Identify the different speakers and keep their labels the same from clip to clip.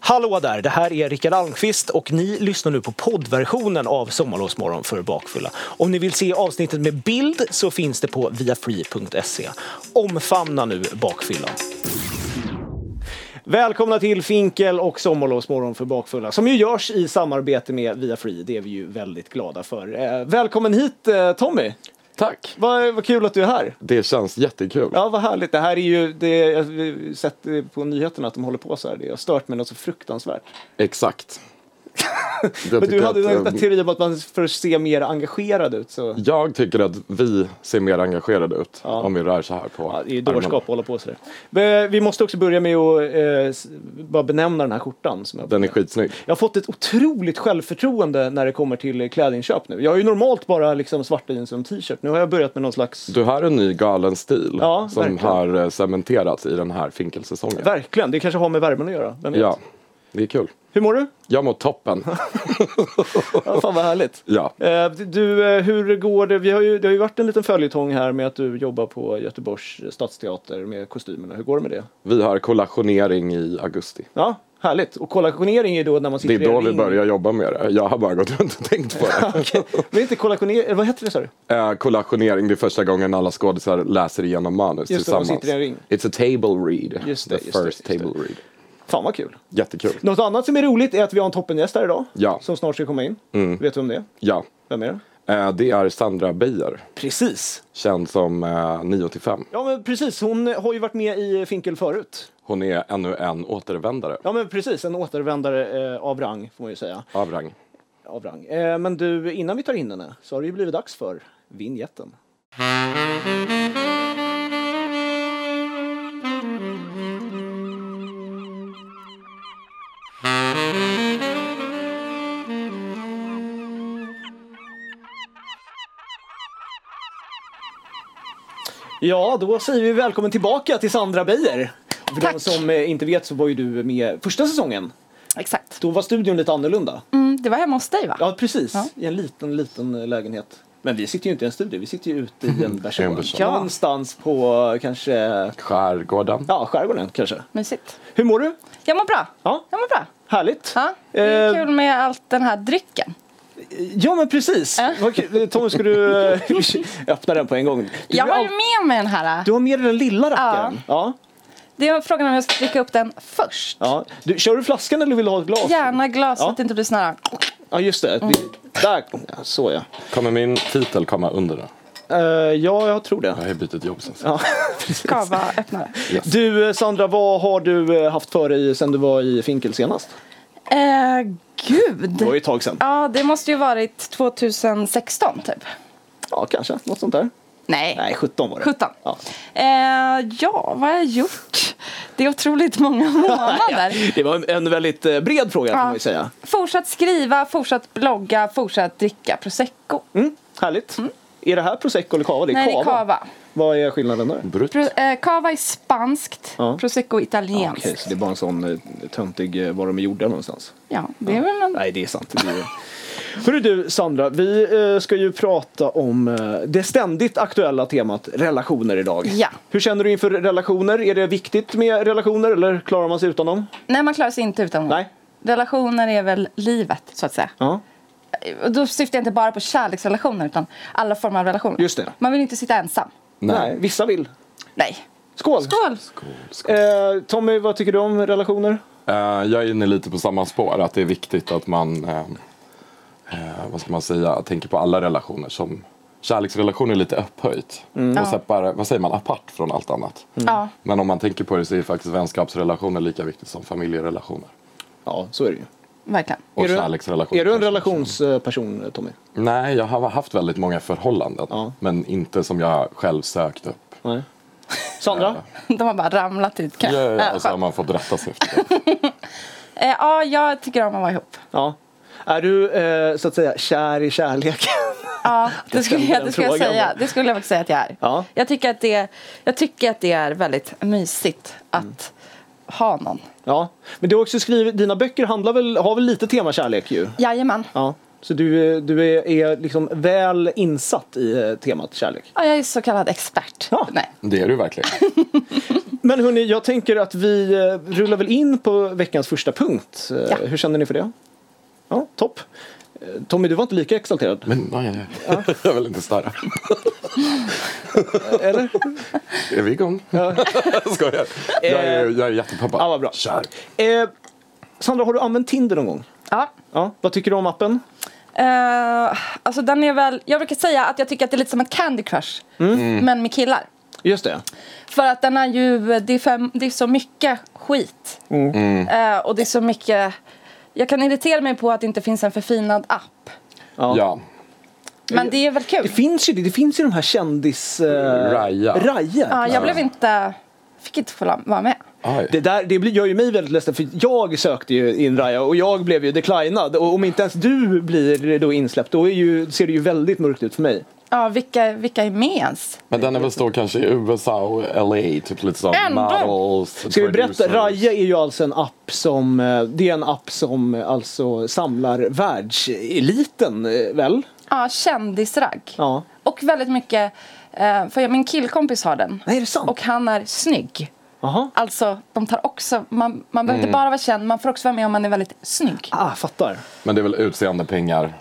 Speaker 1: Hallå där, det här är Rickard Almqvist och ni lyssnar nu på poddversionen av Sommarlovsmorgon för bakfulla. Om ni vill se avsnittet med bild så finns det på viafree.se. Omfamna nu bakfyllan. Välkomna till Finkel och Sommarlovsmorgon för bakfulla som ju görs i samarbete med Viafree. Det är vi ju väldigt glada för. Eh, Välkommen hit eh, Tommy!
Speaker 2: Tack!
Speaker 1: Vad, vad kul att du är här!
Speaker 2: Det känns jättekul.
Speaker 1: Ja, vad härligt. Det här är ju, det, jag har sett eh, på nyheterna att de håller på så här. Det har stört mig något så fruktansvärt.
Speaker 2: Exakt.
Speaker 1: Men du hade en
Speaker 2: att, eh,
Speaker 1: teori om att man för att se mer engagerad ut så...
Speaker 2: jag tycker att vi ser mer engagerade ut
Speaker 1: Ja.
Speaker 2: om vi rör så här på
Speaker 1: Ja, det är ju
Speaker 2: armarna.
Speaker 1: dårskap att hålla på sådär. Men eh, Vi måste också börja med att eh, s- bara benämna den här skjortan. Som jag,
Speaker 2: Den är skitsnygg.
Speaker 1: jag har fått ett otroligt självförtroende när det kommer till klädinköp nu. Jag har ju normalt bara liksom svarta jeans och en t-shirt. Nu har jag börjat med någon slags...
Speaker 2: Du har en ny galen stil
Speaker 1: Ja,
Speaker 2: som
Speaker 1: verkligen.
Speaker 2: har eh, cementerats i den här finkelsäsongen.
Speaker 1: Verkligen, det kanske har med värmen att göra. Vem vet?
Speaker 2: Ja, det är kul.
Speaker 1: Hur mår du?
Speaker 2: Jag mår toppen.
Speaker 1: Ja, fan vad härligt.
Speaker 2: ja.
Speaker 1: Eh, Du, eh, hur går det? Vi har ju, det har ju varit en liten följetong här med att du jobbar på Göteborgs stadsteater med kostymerna. Hur går det med det?
Speaker 2: Vi har kollationering i augusti.
Speaker 1: Ja, härligt. Och kollationering är då när man
Speaker 2: Det
Speaker 1: sitter
Speaker 2: är då
Speaker 1: i en
Speaker 2: vi
Speaker 1: ring.
Speaker 2: börjar jobba med det. Jag har bara gått runt och tänkt på det.
Speaker 1: Okej. Men inte kollationering, eller vad heter det sa du?
Speaker 2: Eh, kollationering, det är första gången alla skådisar läser igenom manus
Speaker 1: Just det, de
Speaker 2: tillsammans.
Speaker 1: sitter i en ring.
Speaker 2: It's a table read.
Speaker 1: Just det,
Speaker 2: The
Speaker 1: just det,
Speaker 2: first
Speaker 1: just det.
Speaker 2: table read.
Speaker 1: Fan vad kul.
Speaker 2: Jättekul.
Speaker 1: Något annat som är roligt är att vi har en toppengäst här idag.
Speaker 2: Ja. Mm.
Speaker 1: Som snart ska komma in. Vet du om det är?
Speaker 2: Ja.
Speaker 1: Vem är det?
Speaker 2: Eh, Det är Sandra Beijer,
Speaker 1: Precis.
Speaker 2: känd som eh, 9 till 5.
Speaker 1: Ja men precis, hon har ju varit med i Finkel förut.
Speaker 2: Hon är ännu en återvändare
Speaker 1: Ja men precis, en återvändare eh, av rang får man ju säga.
Speaker 2: av rang.
Speaker 1: Av rang. Eh, men du, innan vi tar in henne så har det ju blivit dags för vinjetten. Ja, då säger vi välkommen tillbaka till Sandra Beijer. För de
Speaker 3: Tack.
Speaker 1: som eh, inte vet så var ju du med första säsongen.
Speaker 3: Exakt.
Speaker 1: Då var studion lite annorlunda.
Speaker 3: Mm, det var hemma hos dig va?
Speaker 1: Ja, precis.
Speaker 3: Ja.
Speaker 1: I en liten, liten eh, lägenhet. Men vi sitter ju inte i en studio, vi sitter ju ute i en
Speaker 2: I en
Speaker 1: bersån.
Speaker 2: bersån.
Speaker 3: Ja.
Speaker 1: Någonstans på kanske,
Speaker 2: Skärgården.
Speaker 1: ja, skärgården kanske.
Speaker 3: Mysigt.
Speaker 1: Hur mår du?
Speaker 3: Jag mår bra.
Speaker 1: Ja,
Speaker 3: Jag mår bra.
Speaker 1: härligt.
Speaker 3: Ja, det är
Speaker 1: Eh,
Speaker 3: kul med allt den här drycken.
Speaker 1: Ja, men precis.
Speaker 3: Ja.
Speaker 1: Vad kul. Tom, ska du eh, öppna den på en gång? Du,
Speaker 3: Jag har ju
Speaker 1: ja,
Speaker 3: med mig den här.
Speaker 1: du har med dig den lilla rackaren. Ja.
Speaker 3: Det är frågan om jag ska dricka upp den först.
Speaker 1: Ja. Du, kör du flaskan eller vill du ha ett glas?
Speaker 3: Gärna Mm. glas så
Speaker 1: Ja.
Speaker 3: att det inte blir sån här...
Speaker 1: Ja, just det. Det- Där, ja, så ja.
Speaker 2: Kommer min titel komma under den?
Speaker 1: Eh, ja, jag tror det.
Speaker 2: Jag har ju bytt jobb sen sist.
Speaker 1: Ja, precis.
Speaker 3: Kava öppnare.
Speaker 1: Du, eh, Sandra, vad har du eh, haft för dig sen du var i Finkel senast? Det
Speaker 3: Eh,
Speaker 1: var ju
Speaker 3: gud.
Speaker 1: ett tag sedan.
Speaker 3: Ja, det måste ju varit 2016 typ.
Speaker 1: Ja, kanske. Något sånt där.
Speaker 3: Nej.
Speaker 1: Nej, 17 var det.
Speaker 3: 17.
Speaker 1: Ja.
Speaker 3: Eh, ja, vad har jag gjort? Det är otroligt många månader.
Speaker 1: Det var en, en väldigt eh, bred fråga får
Speaker 3: Ja.
Speaker 1: man ju säga.
Speaker 3: Fortsatt skriva, fortsatt blogga, fortsatt dricka prosecco.
Speaker 1: Mm, härligt. Är det här prosecco eller cava? Det är
Speaker 3: Nej, det är
Speaker 1: cava.
Speaker 3: cava.
Speaker 1: Vad är skillnaden där?
Speaker 2: Brutt.
Speaker 3: Pro, eh, cava är spanskt,
Speaker 1: Ja.
Speaker 3: prosecco är
Speaker 1: Okej,
Speaker 3: italienskt.
Speaker 1: så det är bara en sån eh, töntig eh, var de är gjorda någonstans.
Speaker 3: Ja, det är väl en...
Speaker 1: Nej, det är sant. Det är... ju- Hörru du, Sandra, vi eh, ska ju prata om eh, det ständigt aktuella temat relationer idag.
Speaker 3: Ja.
Speaker 1: Hur känner du inför relationer? Är det viktigt med relationer eller klarar man sig utan dem?
Speaker 3: Nej, man klarar sig inte utan
Speaker 1: Nej.
Speaker 3: Relationer är väl livet, så att säga.
Speaker 1: Ja.
Speaker 3: Och då syftar jag inte bara på kärleksrelationer, utan alla former av relationer.
Speaker 1: Just det.
Speaker 3: Man vill inte sitta ensam.
Speaker 1: Nej.
Speaker 2: Nej.
Speaker 1: vissa vill.
Speaker 3: Nej.
Speaker 1: Skål!
Speaker 3: Skål!
Speaker 1: Eh, Tommy, vad tycker du om relationer?
Speaker 2: Eh, jag är inne lite på samma spår, att det är viktigt att man, eh, eh, vad ska man säga, tänker på alla relationer som Kärleksrelationer är lite upphöjt
Speaker 1: Mm.
Speaker 2: och separ, vad säger man, apart från allt annat.
Speaker 3: Ja.
Speaker 2: Men om man tänker på det så är faktiskt vänskapsrelationer lika viktigt som familjerelationer.
Speaker 1: Ja, så är det ju.
Speaker 3: Verkligen.
Speaker 2: Och
Speaker 1: Är du-
Speaker 2: kärleksrelationer.
Speaker 1: Är du en
Speaker 2: kanske.
Speaker 1: relationsperson, eh, Tommy?
Speaker 2: Nej, jag har haft väldigt många förhållanden.
Speaker 1: Ja.
Speaker 2: Men inte som jag själv sökt upp.
Speaker 1: Nej. Sandra?
Speaker 3: De har bara ramlat i ett knä.
Speaker 2: Ja, ja,
Speaker 3: Äh,
Speaker 2: ja,
Speaker 1: alltså.
Speaker 2: så har
Speaker 3: skönt.
Speaker 2: man fått rätta sig efter det.
Speaker 3: Eh, ja, jag tycker om att vara ihop.
Speaker 1: Ja. Är du eh, så att säga kär i kärleken?
Speaker 3: Ja, det skulle,
Speaker 1: ställde
Speaker 3: jag,
Speaker 1: den
Speaker 3: det skulle jag
Speaker 1: frågan.
Speaker 3: säga. Det skulle jag faktiskt säga att jag är.
Speaker 1: Ja.
Speaker 3: Jag, tycker att det, jag tycker att det är väldigt mysigt att ha någon.
Speaker 1: Ja. Men du har också skrivit, dina böcker handlar väl, har väl lite tema kärlek ju?
Speaker 3: Jajamän.
Speaker 1: Ja. Så du, eh, du är, är liksom väl insatt i eh, temat kärlek?
Speaker 3: Ja, jag är så kallad expert.
Speaker 1: Ja.
Speaker 3: Nej.
Speaker 2: Det är du verkligen.
Speaker 1: Men hörni, jag tänker att vi eh, rullar väl in på veckans första punkt. Eh,
Speaker 3: Ja.
Speaker 1: Hur känner ni för det? Ja, topp. Eh, Tommy, du var inte lika exalterad,
Speaker 2: Men nej, nej. jag vill inte störa.
Speaker 1: eller?
Speaker 2: Är vi igång?
Speaker 1: Ja.
Speaker 2: Skojar. Jag är,
Speaker 1: Eh.
Speaker 2: jag är jättepeppad.
Speaker 1: Ja, vad bra.
Speaker 2: Kör.
Speaker 1: Eh, Sandra, har du använt Tinder någon gång?
Speaker 3: Ja.
Speaker 1: Ja, vad tycker du om appen?
Speaker 3: Eh, alltså den är väl, jag brukar säga att jag tycker att det är lite som ett Candy Crush.
Speaker 1: Mm.
Speaker 3: Men med killar.
Speaker 1: Just det.
Speaker 3: För att den är ju, det är, fem, det är så mycket skit.
Speaker 1: Mm.
Speaker 3: Eh, och det är så mycket, jag kan irritera mig på att det inte finns en förfinad app.
Speaker 1: Ja.
Speaker 2: Ja.
Speaker 3: Men det är väl
Speaker 1: Det
Speaker 3: kul.
Speaker 1: finns ju det. Det finns ju de här kändis... Eh,
Speaker 2: Raja.
Speaker 1: Raja.
Speaker 3: Ja, jag blev inte, fick inte få la- vara med.
Speaker 2: Aj.
Speaker 1: Det, där, det blir- gör ju mig väldigt ledsen för jag sökte ju in Raja och jag blev ju declinad. Och om inte ens du blir då insläppt då är ju, ser det ju väldigt mörkt ut för mig.
Speaker 3: Ja, vilka, vilka är med ens?
Speaker 2: Men den är väl stor kanske i USA och LA. Typ lite som
Speaker 3: Ändå.
Speaker 2: models.
Speaker 1: Ska vi berätta?
Speaker 2: producers.
Speaker 1: Raja är ju alltså en app som, eh, det är en app som eh, alltså samlar världseliten eh, väl?
Speaker 3: Ja, kändisragg.
Speaker 1: Ja.
Speaker 3: Och väldigt mycket, eh, för jag, min killkompis har den.
Speaker 1: Nej, är det sant?
Speaker 3: Och han är snygg.
Speaker 1: Jaha.
Speaker 3: Alltså, de tar också, man, man behöver inte bara vara känd, man får också vara med om man är väldigt snygg.
Speaker 1: Ah, fattar.
Speaker 2: Men det är väl utseende, pengar. Alltså,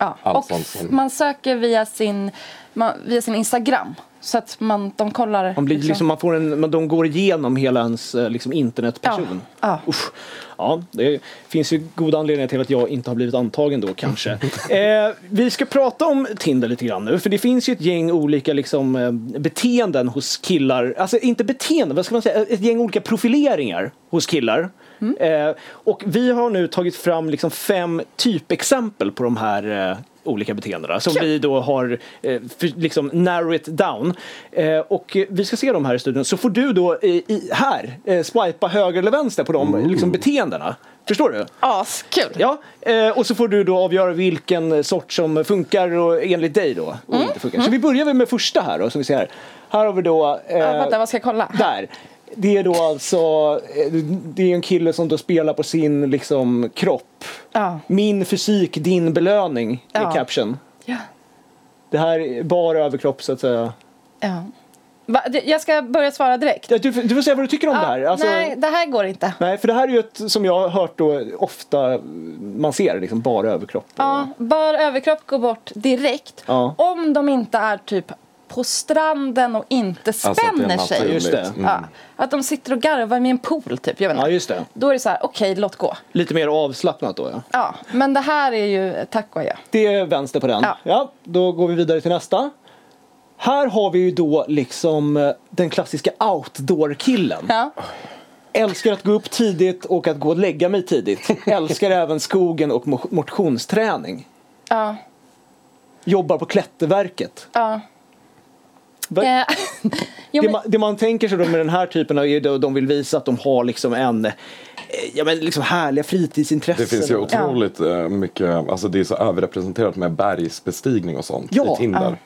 Speaker 3: Ja.
Speaker 2: Allt
Speaker 3: Och
Speaker 2: sånt som-
Speaker 3: man söker via sin, man, via sin Instagram. Så att man, de kollar.
Speaker 1: Man blir liksom, man får en, man- de går igenom hela ens eh, liksom, internetperson.
Speaker 3: Ja, ja.
Speaker 1: Usch. ja, det finns ju goda anledningar till att jag inte har blivit antagen då kanske. eh, vi ska prata om Tinder lite grann nu, för det finns ju ett gäng olika liksom, eh, beteenden hos killar. Alltså inte beteenden, vad ska man säga? Ett gäng olika profileringar hos killar.
Speaker 3: Mm.
Speaker 1: Eh, och vi har nu tagit fram liksom fem typexempel på de här eh, olika beteendena som
Speaker 3: Kul.
Speaker 1: vi då har eh, för, liksom narrow it down. Eh, och eh, vi ska se dem här i studion så får du då eh, i, här eh, swipa höger eller vänster på de liksom, beteendena. Förstår du?
Speaker 3: Askul!
Speaker 1: Ja, eh, och så får du då avgöra vilken sort som funkar och, enligt dig då. Och
Speaker 3: Mm.
Speaker 1: inte funkar. Så vi börjar väl med första här då som vi ser här. Här har vi då... eh,
Speaker 3: Ja, vänta, vad ska jag kolla?
Speaker 1: där. Det är då alltså, eh, det är en kille som då spelar på sin liksom kropp.
Speaker 3: Ja.
Speaker 1: Min fysik, din belöning är
Speaker 3: Ja.
Speaker 1: caption.
Speaker 3: Ja.
Speaker 1: Det här är bara överkropp så att säga.
Speaker 3: ja. Va, det- jag ska börja svara direkt.
Speaker 1: Ja, Du, du får säga vad du tycker om
Speaker 3: Ja,
Speaker 1: det här. Alltså,
Speaker 3: Nej, det här går inte.
Speaker 1: nej, för det här är ju ett som jag har hört då ofta man ser liksom bara överkropp. och-
Speaker 3: Ja, bar överkropp går bort direkt.
Speaker 1: Ja.
Speaker 3: Om de inte är typ på stranden och inte
Speaker 2: Alltså att det
Speaker 3: spänner
Speaker 2: är
Speaker 3: sig.
Speaker 2: naturligt.
Speaker 1: Just det.
Speaker 2: Mm.
Speaker 3: Ja, att de sitter och garvar med en pool typ. Jag vet inte.
Speaker 1: Ja, just det.
Speaker 3: Då är det så här, okej, låt gå.
Speaker 1: Lite mer avslappnat då ja.
Speaker 3: Ja, men det här är ju tack och adjö.
Speaker 1: Det är vänster på den.
Speaker 3: Ja.
Speaker 1: Ja, då går vi vidare till nästa. Här har vi ju då liksom eh, den klassiska outdoor-killen.
Speaker 3: Ja.
Speaker 1: Älskar att gå upp tidigt och att gå och lägga mig tidigt. Älskar även skogen och mo- motionsträning.
Speaker 3: Ja.
Speaker 1: Jobbar på Klätterverket.
Speaker 3: Ja.
Speaker 1: Va-
Speaker 3: Eh,
Speaker 1: Det
Speaker 3: jo, men,
Speaker 1: man, det man tänker sig då med den här typen av är då de vill visa att de har liksom en eh, ja, men liksom härliga fritidsintressen.
Speaker 2: Det finns ju
Speaker 1: Och-
Speaker 2: otroligt eh, mycket, alltså det är så överrepresenterat med bergsbestigning och sånt
Speaker 1: Ja.
Speaker 2: i Tinder.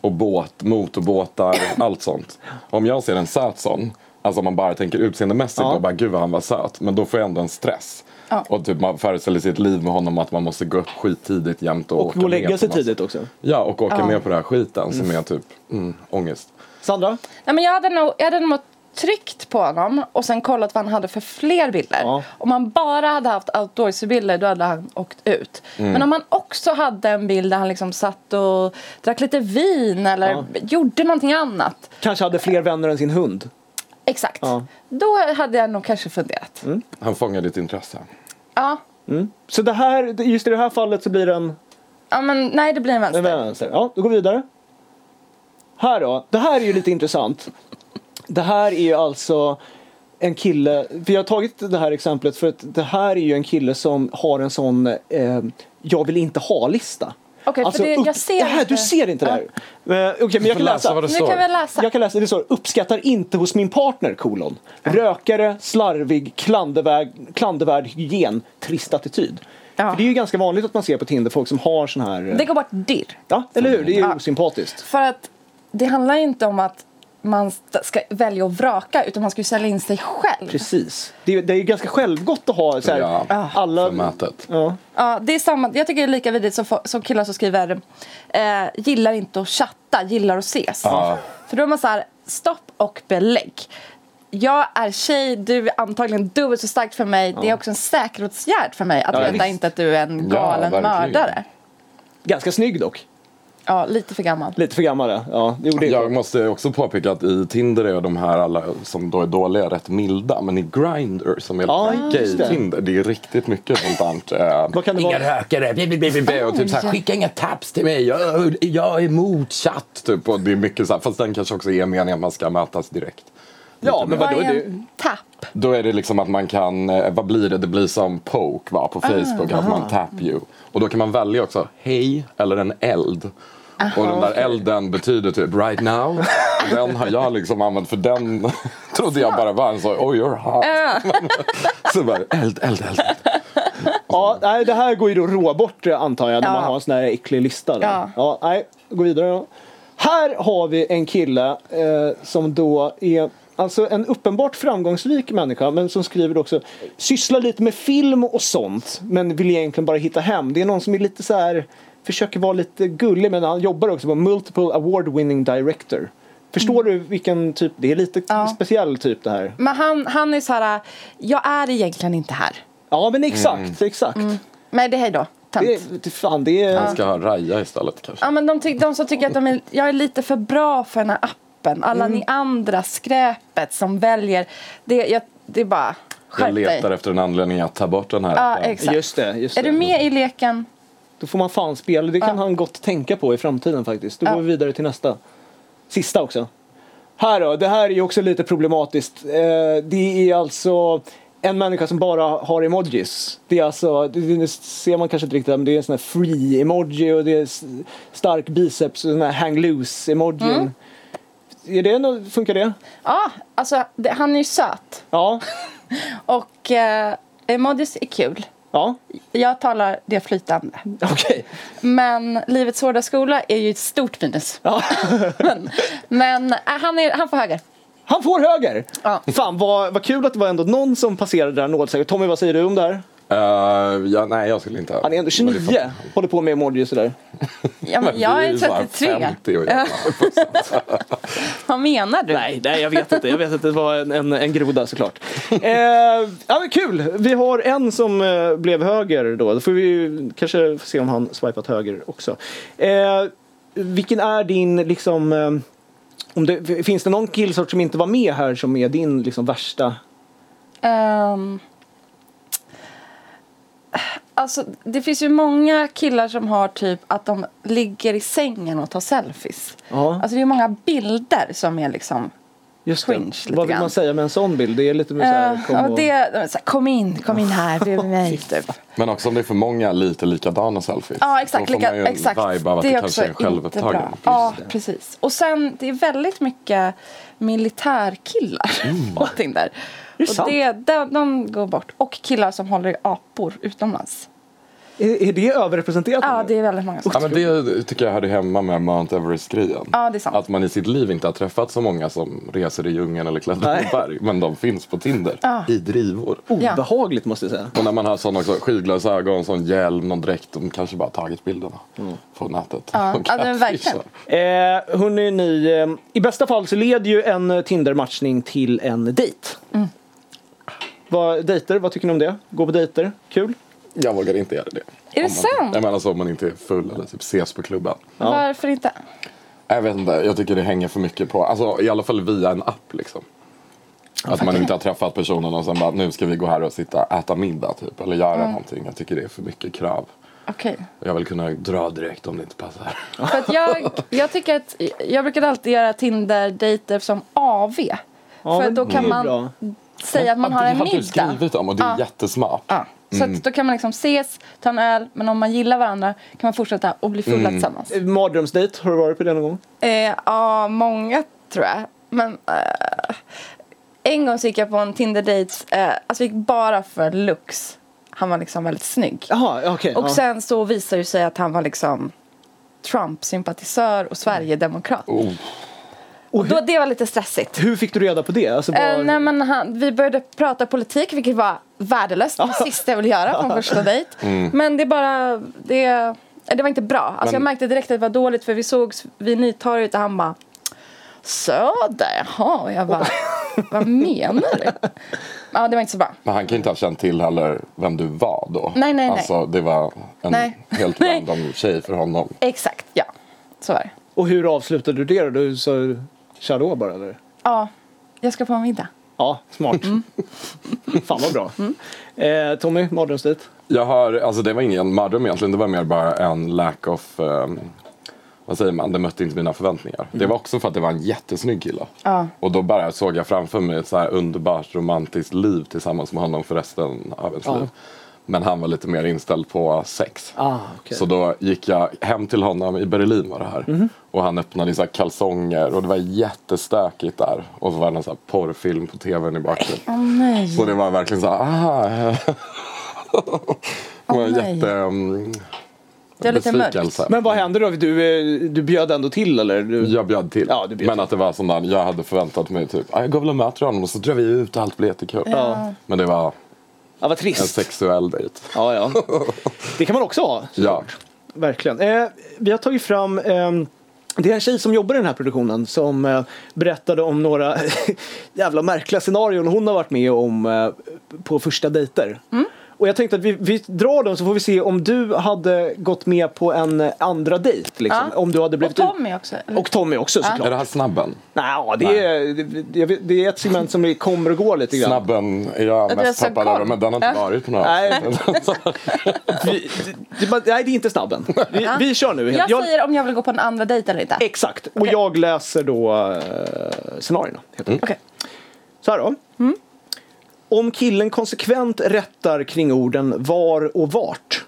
Speaker 2: Och båt, motorbåtar, allt sånt. Om jag ser en söt sån, alltså om man bara tänker utseendemässigt
Speaker 1: Ja.
Speaker 2: då, bara gud vad han var söt. Men då får jag ändå en stress.
Speaker 3: Ja.
Speaker 2: Och typ man föreställer sig ett liv med honom att man måste gå upp skittidigt jämt och,
Speaker 1: och gå och lägga
Speaker 2: med
Speaker 1: sig
Speaker 2: på massa-
Speaker 1: tidigt också.
Speaker 2: Ja, och åka
Speaker 3: Ja.
Speaker 2: med på den här skiten som är typ mm, ångest.
Speaker 1: Sandra?
Speaker 3: nej, men jag hade nog, jag hade nog tryckt på honom och sen kollat vad han hade för fler bilder.
Speaker 1: Ja.
Speaker 3: Om han bara hade haft outdoors-bilder då hade han åkt ut. Men om han också hade en bild där han liksom satt och drack lite vin eller gjorde någonting annat.
Speaker 1: Kanske hade fler vänner än sin hund.
Speaker 3: Exakt.
Speaker 1: Ja.
Speaker 3: Då hade jag nog kanske funderat.
Speaker 2: Han fångar ditt intresse.
Speaker 3: Ja.
Speaker 1: Så det här, just i det här fallet så blir det en
Speaker 3: ja, men nej det blir en vänster.
Speaker 1: Den vänster. Ja, då går vi vidare. Här då. Det här är ju lite intressant. Det här är ju alltså en kille, för jag har tagit det här exemplet för att det här är ju en kille som har en sån eh, jag vill inte ha-lista.
Speaker 3: Okej, för det- jag ser
Speaker 1: det här,
Speaker 3: inte.
Speaker 1: Du ser inte det här? Eh, Okej, men jag
Speaker 2: får
Speaker 1: kan
Speaker 2: läsa
Speaker 1: läsa.
Speaker 2: vad det
Speaker 3: nu kan vi läsa.
Speaker 1: Jag kan läsa, det står uppskattar inte hos min partner kolon. Rökare, slarvig, klandervärd, klandervärd hygien, trist attityd.
Speaker 3: Ja.
Speaker 1: För det är ju ganska vanligt att man ser på Tinder folk som har sån här... eh,
Speaker 3: Det går bort dirr.
Speaker 1: Ja, eller hur? Det är ju
Speaker 3: Ja.
Speaker 1: osympatiskt.
Speaker 3: För att det handlar ju inte om att man st- ska välja och vraka utan man ska ju sälja in sig själv.
Speaker 1: Precis. Det är, det är ju ganska självgott att ha så här, Ah.
Speaker 2: Ja,
Speaker 1: alla...
Speaker 2: Förmätet.
Speaker 1: Ja.
Speaker 3: Ja, det är samma, jag tycker det är lika vidrigt som, fo- som killar som skriver eh, gillar inte att chatta, gillar att ses.
Speaker 2: Ja.
Speaker 3: För då är man så här, stopp och belägg. jag är tjej, du är antagligen dubbelt så stark för mig. Det är också en säkerhetsåtgärd för mig att
Speaker 1: Ja,
Speaker 3: veta
Speaker 2: visst.
Speaker 3: inte att du är en
Speaker 2: Ja,
Speaker 3: galen
Speaker 2: verkligen.
Speaker 3: mördare.
Speaker 1: Ganska snygg dock.
Speaker 3: Ja, lite för gammal.
Speaker 1: Lite för gammal ja. ja jo, det
Speaker 2: Jag måste också påpeka att i Tinder är de här alla som då är dåliga rätt milda. Men i Grindr som är
Speaker 1: Ja, just det.
Speaker 2: gay-Tinder, det är riktigt mycket sånt där. eh,
Speaker 1: Vad kan det
Speaker 2: Inga
Speaker 1: vara?
Speaker 2: rökare, bli, bli, bli, bli, bli, och typ såhär, skicka inga taps till mig, jag, jag är emot chatt. Typ, och det är mycket såhär, fast den kanske också är meningen att man ska mötas direkt.
Speaker 1: Ja, men
Speaker 3: Vad
Speaker 1: vadå?
Speaker 3: är
Speaker 1: Det,
Speaker 3: en tapp?
Speaker 2: Då är det liksom att man kan, eh, vad blir det? Det blir som poke va,
Speaker 3: Ah,
Speaker 2: på Facebook, att man tap you. Och då kan man välja också hej eller en eld. och den där elden betyder typ right now. Den har jag liksom använt för den trodde jag bara var en så, oh you're hot. så bara eld, eld, eld.
Speaker 1: ja, nej, det här går ju då rå bort eh, antar jag när
Speaker 3: Ja.
Speaker 1: man har en sån här äcklig lista. Där.
Speaker 3: Ja.
Speaker 1: Ja, nej, gå vidare då. Här har vi en kille eh, som då är Alltså en uppenbart framgångsrik människa men som skriver också sysslar lite med film och sånt men vill egentligen bara hitta hem. Det är någon som är lite så här försöker vara lite gullig men han jobbar också på multiple award winning director. Förstår du vilken typ? Det är lite
Speaker 3: Mm. Ja.
Speaker 1: speciell typ det här.
Speaker 3: Men han, han är så här, jag är egentligen inte här.
Speaker 1: Ja men exakt, exakt.
Speaker 3: Mm, Nej, det är hej då. Tönt.
Speaker 1: Det, det, fan, det är...
Speaker 2: Ska ha raja istället kanske.
Speaker 3: Ja, men de, tyck, de som tycker att de är, jag är lite för bra för den här appen. Alla
Speaker 1: Mm.
Speaker 3: ni andra, skräpet som väljer. Det, jag, det är bara,
Speaker 2: Jag
Speaker 3: skärp dig.
Speaker 2: letar efter en anledning att ta bort den här
Speaker 3: Ja,
Speaker 2: appen.
Speaker 3: exakt.
Speaker 1: Just det, just
Speaker 3: Är
Speaker 1: det.
Speaker 3: du med i leken?
Speaker 1: Då får man fan spela. Det kan
Speaker 3: Ja.
Speaker 1: han gott tänka på i framtiden faktiskt. Då
Speaker 3: Ja.
Speaker 1: går vi vidare till nästa. Sista också. Här då, det här är ju också lite problematiskt. Eh, det är alltså en människa som bara har emojis. Det är alltså, det, det ser man kanske inte riktigt här, men det är en sån här free-emoji och det är s- stark biceps och den här hang loose-emojin.
Speaker 3: Mm.
Speaker 1: Är det, nå- funkar det?
Speaker 3: Ja, alltså det, han är ju söt.
Speaker 1: Ja.
Speaker 3: Och eh, emojis är kul.
Speaker 1: Ja,
Speaker 3: Jag talar det flytande.
Speaker 1: okej.
Speaker 3: Men livets hårda skola är ju ett stort minus.
Speaker 1: Ja.
Speaker 3: Men eh, han, är, han får höger.
Speaker 1: Han får höger!
Speaker 3: Ja.
Speaker 1: Fan vad, vad kul att det var ändå någon som passerade det här nålsögat. Tommy vad säger du om det här?
Speaker 2: Eh, ja, nej, jag skulle inte.
Speaker 1: Han är ändå 29, håller på med emojis sådär.
Speaker 3: Ja, men jag är
Speaker 2: Vi så här
Speaker 3: 33.
Speaker 2: 50 och jag-
Speaker 3: Vad menar du?
Speaker 1: Nej, nej jag vet inte. Jag vet att det var en, en, en groda såklart. Eh, ja, men kul! Vi har en som eh, blev höger då. Då får vi ju kanske se om han swipat höger också. Eh, vilken är din liksom... Eh, om det, finns det någon killsort som inte var med här som är din liksom värsta...
Speaker 3: Ehm, alltså, det finns ju många killar som har typ att de ligger i sängen och tar selfies.
Speaker 1: Ja,
Speaker 3: Alltså det är många bilder som är liksom
Speaker 1: just
Speaker 3: cringe
Speaker 1: det.
Speaker 3: lite
Speaker 1: Vad vill
Speaker 3: grann.
Speaker 1: man säga med en sån bild? Det är lite mer så
Speaker 3: Eh,
Speaker 1: här, kom
Speaker 3: ja,
Speaker 1: och-
Speaker 3: det, de är så här, kom in, kom in här bredvid mig. typ.
Speaker 2: Men också om det är för många lite likadana selfies.
Speaker 3: Ja, exakt.
Speaker 2: Då får
Speaker 3: Lika,
Speaker 2: man ju en
Speaker 3: exakt.
Speaker 2: vibe av att det,
Speaker 3: är
Speaker 2: kanske är en
Speaker 3: också inte
Speaker 2: självupptagen.
Speaker 3: bra. Ja, precis. Och sen, det är väldigt mycket militärkillar
Speaker 2: Mm.
Speaker 3: på Tinder.
Speaker 1: Det är
Speaker 3: och
Speaker 1: sant.
Speaker 3: det, de, de går bort. Och killar som håller i apor utomlands.
Speaker 1: Är, är det överrepresenterat?
Speaker 3: Ja,
Speaker 1: nu?
Speaker 3: det är väldigt många som
Speaker 2: Ja, men det tycker jag hörde hemma med Mount Everest-grejen.
Speaker 3: Ja, det är sant.
Speaker 2: Att man i sitt liv inte har träffat så många som reser i djungeln eller klättrar i
Speaker 1: Nej.
Speaker 2: berg. Men de finns på Tinder.
Speaker 3: Ja.
Speaker 2: I drivor.
Speaker 3: Ja.
Speaker 1: Obehagligt måste jag säga.
Speaker 2: Och när man har sådana också, skyglasögon, sån hjälm, någon dräkt. De kanske bara tagit bilderna på nätet.
Speaker 3: Ja,
Speaker 2: Och
Speaker 3: ja, men verkligen.
Speaker 2: catfishar.
Speaker 1: Eh, hörni, ni, eh, I bästa fall så leder ju en eh, Tinder-matchning till en dejt.
Speaker 3: Mm.
Speaker 1: Vad, dejter, vad tycker ni om det? Gå på dejter, kul?
Speaker 2: Jag vågar inte göra det.
Speaker 3: Är det
Speaker 2: Om man,
Speaker 3: sant?
Speaker 2: jag menar så om man inte är full eller typ ses på klubben.
Speaker 3: Varför inte?
Speaker 2: Jag vet inte, jag tycker det hänger för mycket på, alltså i alla fall via en app liksom. Att man inte har träffat personen och sen bara nu ska vi gå här och sitta och äta middag typ eller göra
Speaker 3: Mm.
Speaker 2: någonting. Jag tycker det är för mycket krav.
Speaker 3: Okej.
Speaker 2: Jag vill kunna dra direkt om det inte passar.
Speaker 3: För att jag, jag tycker att jag brukar alltid göra Tinder-dejter som AV. för
Speaker 1: men
Speaker 3: att då
Speaker 1: det
Speaker 3: kan
Speaker 1: är
Speaker 3: man
Speaker 1: bra.
Speaker 3: säga att man
Speaker 2: Ja,
Speaker 3: har
Speaker 2: det
Speaker 3: en
Speaker 2: hade du
Speaker 3: middag.
Speaker 2: skrivit om och det är
Speaker 3: Ja.
Speaker 2: jättesmart.
Speaker 3: Ja. Så
Speaker 1: Mm.
Speaker 3: att då kan man liksom ses, ta en öl, men om man gillar varandra kan man fortsätta och bli fulla tillsammans.
Speaker 1: Eh, Mardrömsdejt, har du varit på det någon gång?
Speaker 3: Eh, ja, många tror jag. Men eh, en gång så gick jag på en Tinder-dejt, eh, alltså vi gick bara för looks. Han var liksom väldigt snygg.
Speaker 1: Jaha, okej.
Speaker 3: Och
Speaker 1: ja.
Speaker 3: sen så visade det sig att han var liksom Trump-sympatisör och Sverigedemokrat.
Speaker 1: Mm.
Speaker 2: Oh,
Speaker 1: och
Speaker 3: Då,
Speaker 1: hur,
Speaker 3: det var lite stressigt.
Speaker 1: hur fick du reda på det? Alltså, var,
Speaker 3: Eh, nej, men han, vi började prata politik, vilket var värdelöst. Det sista jag ville göra på en första dejt.
Speaker 1: Mm.
Speaker 3: Men det är bara... Det, eh, det var inte bra. Alltså,
Speaker 2: Men-
Speaker 3: Jag märkte direkt att det var dåligt, för vi sågs vid Nytorget och han bara... Söder, jaha. Och jag bara... Vad menar du? Ja, det var inte så bra.
Speaker 2: Men han kan inte ha känt till heller vem du var då.
Speaker 3: Nej, nej, nej.
Speaker 2: alltså, Det var en
Speaker 3: Nej.
Speaker 2: helt
Speaker 3: Nej.
Speaker 2: random tjej för honom.
Speaker 3: Exakt, ja. Så var det.
Speaker 1: Och hur avslutade du det då? Du sa tja bara eller?
Speaker 3: Ja, jag ska på middag.
Speaker 1: Ja, smart.
Speaker 3: Mm.
Speaker 1: Fan vad bra. Eh, Tommy, mardrömsdejt?
Speaker 2: Jag har, alltså det var ingen mardröm egentligen. Det var mer bara en lack of, ehm, vad säger man, det mötte inte mina förväntningar.
Speaker 1: Mm.
Speaker 2: Det var också för att det var en jättesnygg kille.
Speaker 3: Ja.
Speaker 2: Och då bara såg jag framför mig ett så här underbart romantiskt liv tillsammans med honom för resten av ens liv. Men han var lite mer inställd på sex.
Speaker 1: Ah, okej. Mhm.
Speaker 2: Så då gick jag hem till honom, i Berlin var det här. Och han öppnade i så här kalsonger och det var jättestökigt där. Och så var det en så här porrfilm på tvn i bakgrunden.
Speaker 3: Åh nej.
Speaker 2: Så det var verkligen så här, aha. Det var
Speaker 3: Åh, nej.
Speaker 2: jätte... mm,
Speaker 3: Det var lite mörkt.
Speaker 2: besvikelse.
Speaker 1: Men vad hände då? Du, eh, du bjöd ändå till eller? Du...
Speaker 2: Jag bjöd till.
Speaker 1: Ja, du bjöd
Speaker 2: men att det var som där, jag hade förväntat mig typ, "Ah, jag går väl och möter honom och så drar vi ut och allt blir jättekul.
Speaker 1: Ja.
Speaker 2: Men det var
Speaker 1: Ja, vad
Speaker 2: en
Speaker 1: trist.
Speaker 2: sexuell dejt.
Speaker 1: Ja, ja. Det kan man också ha.
Speaker 2: Ja.
Speaker 1: Verkligen. Eh, vi har tagit fram ehm, det är en tjej som jobbar i den här produktionen som eh, berättade om några jävla märkliga scenarion hon har varit med om eh, på första dejter.
Speaker 3: Mm.
Speaker 1: Och jag tänkte att vi, vi drar dem så får vi se om du hade gått med på en eh, andra dejt. Liksom.
Speaker 3: Ja.
Speaker 1: Om du hade
Speaker 3: Och
Speaker 1: blivit
Speaker 3: Tommy också. eller?
Speaker 1: och Tommy också såklart.
Speaker 2: Är det här snabben?
Speaker 1: Nej, det, är, det, jag vet- det är ett segment som kommer och går lite grann.
Speaker 2: Snabben är jag
Speaker 3: du
Speaker 2: mest
Speaker 3: har så
Speaker 2: peppad över,
Speaker 3: koll.
Speaker 2: men den har inte
Speaker 3: Ja.
Speaker 2: varit på några
Speaker 1: Nej.
Speaker 2: avsnitt.
Speaker 1: Vi, det, det, nej, det är inte snabben. Vi, vi kör nu. Jag-
Speaker 3: Jag,
Speaker 1: Mm.
Speaker 3: säger om jag vill gå på en andra dejt eller inte.
Speaker 1: Exakt. Och
Speaker 3: Okej. Mm.
Speaker 1: jag läser då eh, scenarierna. Helt enkelt.
Speaker 3: Okej.
Speaker 1: Så här då.
Speaker 3: Mm.
Speaker 1: Om killen konsekvent rättar kring orden var och vart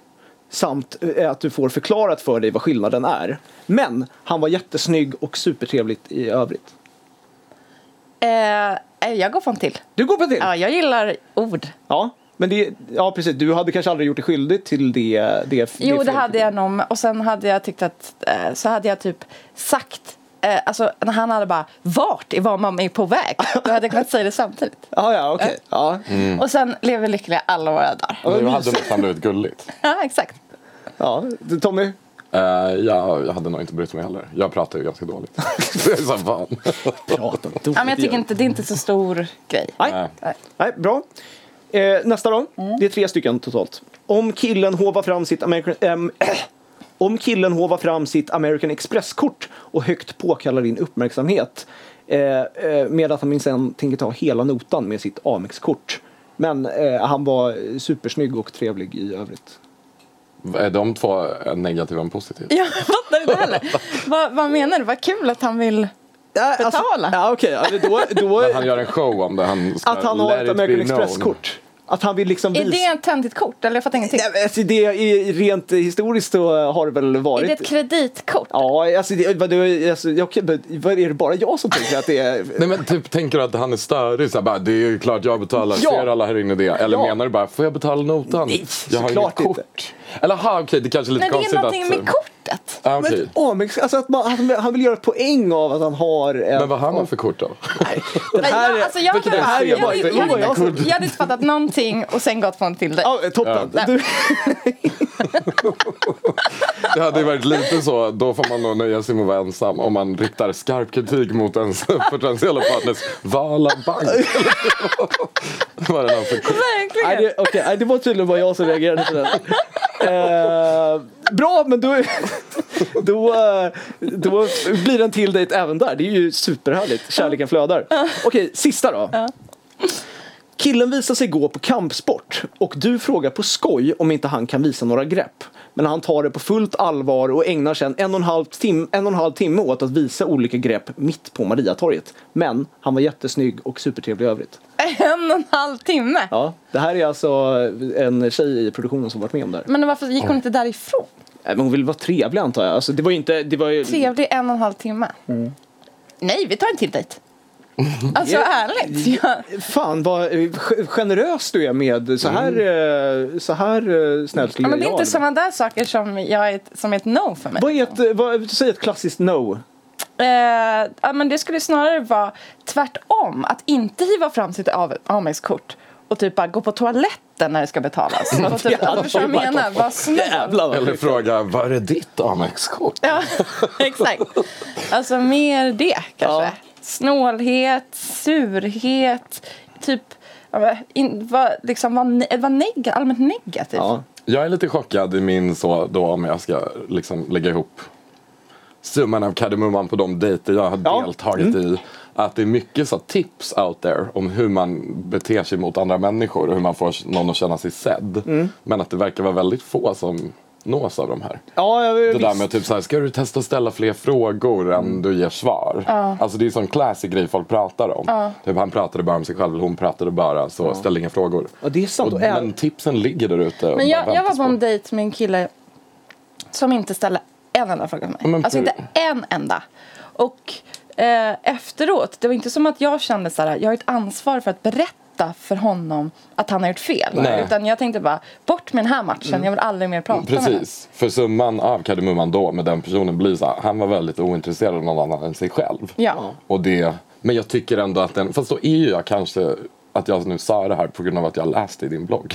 Speaker 1: samt eh, att du får förklarat för dig vad skillnaden är. Men han var jättesnygg och supertrevligt i övrigt.
Speaker 3: Eh, eh, jag går på en till.
Speaker 1: Du går på till?
Speaker 3: Ja, jag gillar ord.
Speaker 1: Ja, men det, ja, precis. Du hade kanske aldrig gjort dig skyldig till det. det
Speaker 3: Jo, det
Speaker 1: fel-
Speaker 3: hade jag nog. Och sen hade jag tyckt att, eh, så hade jag typ sagt, eh, alltså när han hade bara, vart är var man är på väg? Då hade jag kunnat säga det samtidigt.
Speaker 1: Ja, ja, okej. Ja.
Speaker 3: Och sen lever lyckliga alla våra dagar.
Speaker 1: Ja,
Speaker 2: Nu
Speaker 1: men-
Speaker 2: hade nästan blivit gulligt.
Speaker 3: Ja, exakt.
Speaker 1: ja. Tommy?
Speaker 2: Eh, ja, jag hade nog inte brytt mig heller. Jag pratar ju ganska dåligt. det är så fan.
Speaker 1: Prata dåligt.
Speaker 3: Ja, men jag tycker inte, det är inte så stor grej.
Speaker 1: Nej.
Speaker 3: Nej.
Speaker 1: Nej, bra. Eh, nästa då. Det är tre stycken totalt. Om killen hovar fram sitt American... ehm, om killen hovar fram sitt American Express-kort och högt påkallar din uppmärksamhet eh, eh, med att han minsann tänker ta hela notan med sitt Amex-kort. Men eh, han var supersnygg och trevlig i övrigt.
Speaker 2: Är de två negativa och positiva?
Speaker 3: Jag fattar inte heller. vad, vad menar du? Vad kul att han vill...
Speaker 1: Äh,
Speaker 3: Betala?
Speaker 1: ja, okej. Ja, då, då,
Speaker 2: Han gör en show om det. Han ska
Speaker 1: att han har
Speaker 2: let
Speaker 1: ett
Speaker 2: it be
Speaker 1: American
Speaker 2: known.
Speaker 1: Express-kort. Att han vill liksom
Speaker 3: Är
Speaker 1: visa...
Speaker 3: det ett töntigt kort? Eller jag fattar ingenting.
Speaker 1: Nej, men alltså, det är, rent historiskt så har det väl
Speaker 3: Är
Speaker 1: varit...
Speaker 3: det ett kreditkort?
Speaker 1: Ja, alltså, det, vad, du, alltså jag, kan- vad- vad är det bara jag som tänker att det är...
Speaker 2: Nej men typ tänker du att han är störig? Så här, bara, det är ju klart jag betalar,
Speaker 1: Ja.
Speaker 2: ser alla här inne det? Eller
Speaker 1: Ja.
Speaker 2: menar du bara, får jag betala notan?
Speaker 1: Nej,
Speaker 2: jag har
Speaker 1: såklart
Speaker 2: inget kort.
Speaker 1: inte.
Speaker 2: Eller ha, okej det kanske är lite
Speaker 3: Nej, det är
Speaker 2: konstigt
Speaker 3: någonting
Speaker 2: att...
Speaker 3: med kortet.
Speaker 2: Ah, okej.
Speaker 1: Men, åh, men, alltså, att man, han, han vill göra poäng av att han har... En,
Speaker 2: Men vad har man för kort då?
Speaker 1: Nej, den
Speaker 3: Nej,
Speaker 1: här,
Speaker 3: jag, alltså, jag,
Speaker 1: vilken-
Speaker 3: hade,
Speaker 1: det här är
Speaker 3: jag,
Speaker 1: bara
Speaker 3: hade,
Speaker 1: inte...
Speaker 3: jag,
Speaker 1: Jag,
Speaker 3: hade,
Speaker 1: jag,
Speaker 3: inte- jag hade inte fattat någonting och sen gått på en till dig.
Speaker 1: ja, toppen.
Speaker 2: Ja.
Speaker 1: Du,
Speaker 2: Det hade ju varit lite så, då får man nog nöja sig med att vara ensam om man riktar skarp kritik mot ens potentiella partners vala bank. Vad är det här för kort?
Speaker 1: nej,
Speaker 3: Verkligen.
Speaker 1: det, okej, nej, det var tydligen bara jag som reagerade på den. Eh, bra, men då, då, eh, då blir det en till dejt även där. Det är ju superhärligt. Kärleken flödar. Okej, sista då. Killen visar sig gå på kampsport och du frågar på skoj om inte han kan visa några grepp. Men han tar det på fullt allvar och ägnar sedan en och en halv, tim- en och en halv timme åt att visa olika grepp mitt på Mariatorget. Men han var jättesnygg och supertrevlig i övrigt.
Speaker 3: En och en halv timme.
Speaker 1: Ja, det här är alltså en tjej i produktionen som varit med om det här.
Speaker 3: Men varför gick hon inte därifrån?
Speaker 1: Nej, men hon vill vara trevlig antar jag. Alltså, det var ju inte... Det var ju...
Speaker 3: Trevlig en och en halv timme. Nej, vi tar en till dejt. Alltså
Speaker 1: Mm. Ja.
Speaker 3: ärligt. Jag,
Speaker 1: Fan vad eh, ge- generös du är med så här, eh, så här eh, snäll skulle
Speaker 3: Mm. ja, men det är
Speaker 1: jag
Speaker 3: inte
Speaker 1: vara.
Speaker 3: sådana där saker som, jag är ett, som är ett no för mig.
Speaker 1: Vad är ett, eh, vad, säg ett klassiskt no.
Speaker 3: Eh, ja, men det skulle snarare vara tvärtom. Att inte hiva fram sitt av- Amex-kort och typ bara gå på toaletten när det ska betalas. Och typ, alltså, förstår du vad jag menar? Var snäll.
Speaker 1: Jävlar vad
Speaker 2: Eller
Speaker 1: sjukt.
Speaker 2: fråga, var är ditt Amex-kort?
Speaker 3: Ja, exakt. Alltså mer det kanske.
Speaker 1: Ja.
Speaker 3: snålhet, surhet, typ ja, men, in, var, liksom, var, ne- var neg- allmänt negativ.
Speaker 1: Ja.
Speaker 2: Jag är lite chockad i min så då om jag ska liksom lägga ihop summan av kardemumman på de dejter jag har
Speaker 1: Ja.
Speaker 2: deltagit i. Att det är mycket så tips out there om hur man beter sig mot andra människor och hur man får någon att känna sig sedd. Men att det verkar vara väldigt få som nås av de här.
Speaker 1: Ja, jag
Speaker 2: Det
Speaker 1: visst.
Speaker 2: där med att typ så här, ska du testa att ställa fler frågor än du ger svar? Alltså det är en sån classic grej folk pratar om. Typ, han pratade bara om sig själv, eller hon pratade bara, så ställ inga frågor.
Speaker 1: Ja, det är sant.
Speaker 2: Och,
Speaker 1: Och även-
Speaker 2: men tipsen ligger där ute. och
Speaker 3: Men
Speaker 2: bara
Speaker 3: jag, jag var
Speaker 2: väntas
Speaker 3: på en dejt med en kille som inte ställde en enda fråga till mig.
Speaker 2: Men
Speaker 3: alltså
Speaker 2: hur-
Speaker 3: inte en enda. Och eh, efteråt, det var inte som att jag kände så här, jag har ett ansvar för att berätta för honom att han har gjort fel.
Speaker 2: Nej. Mm.
Speaker 3: Utan jag tänkte bara, bort med den här matchen, jag vill aldrig mer prata med honom.
Speaker 2: Precis, för summan av kardemumman då med den personen blir så här, han var väldigt ointresserad av någon annan än sig själv.
Speaker 3: Ja.
Speaker 2: Och det, men jag tycker ändå att den, fast då är ju jag kanske att jag nu sa det här på grund av att jag läste i din blogg.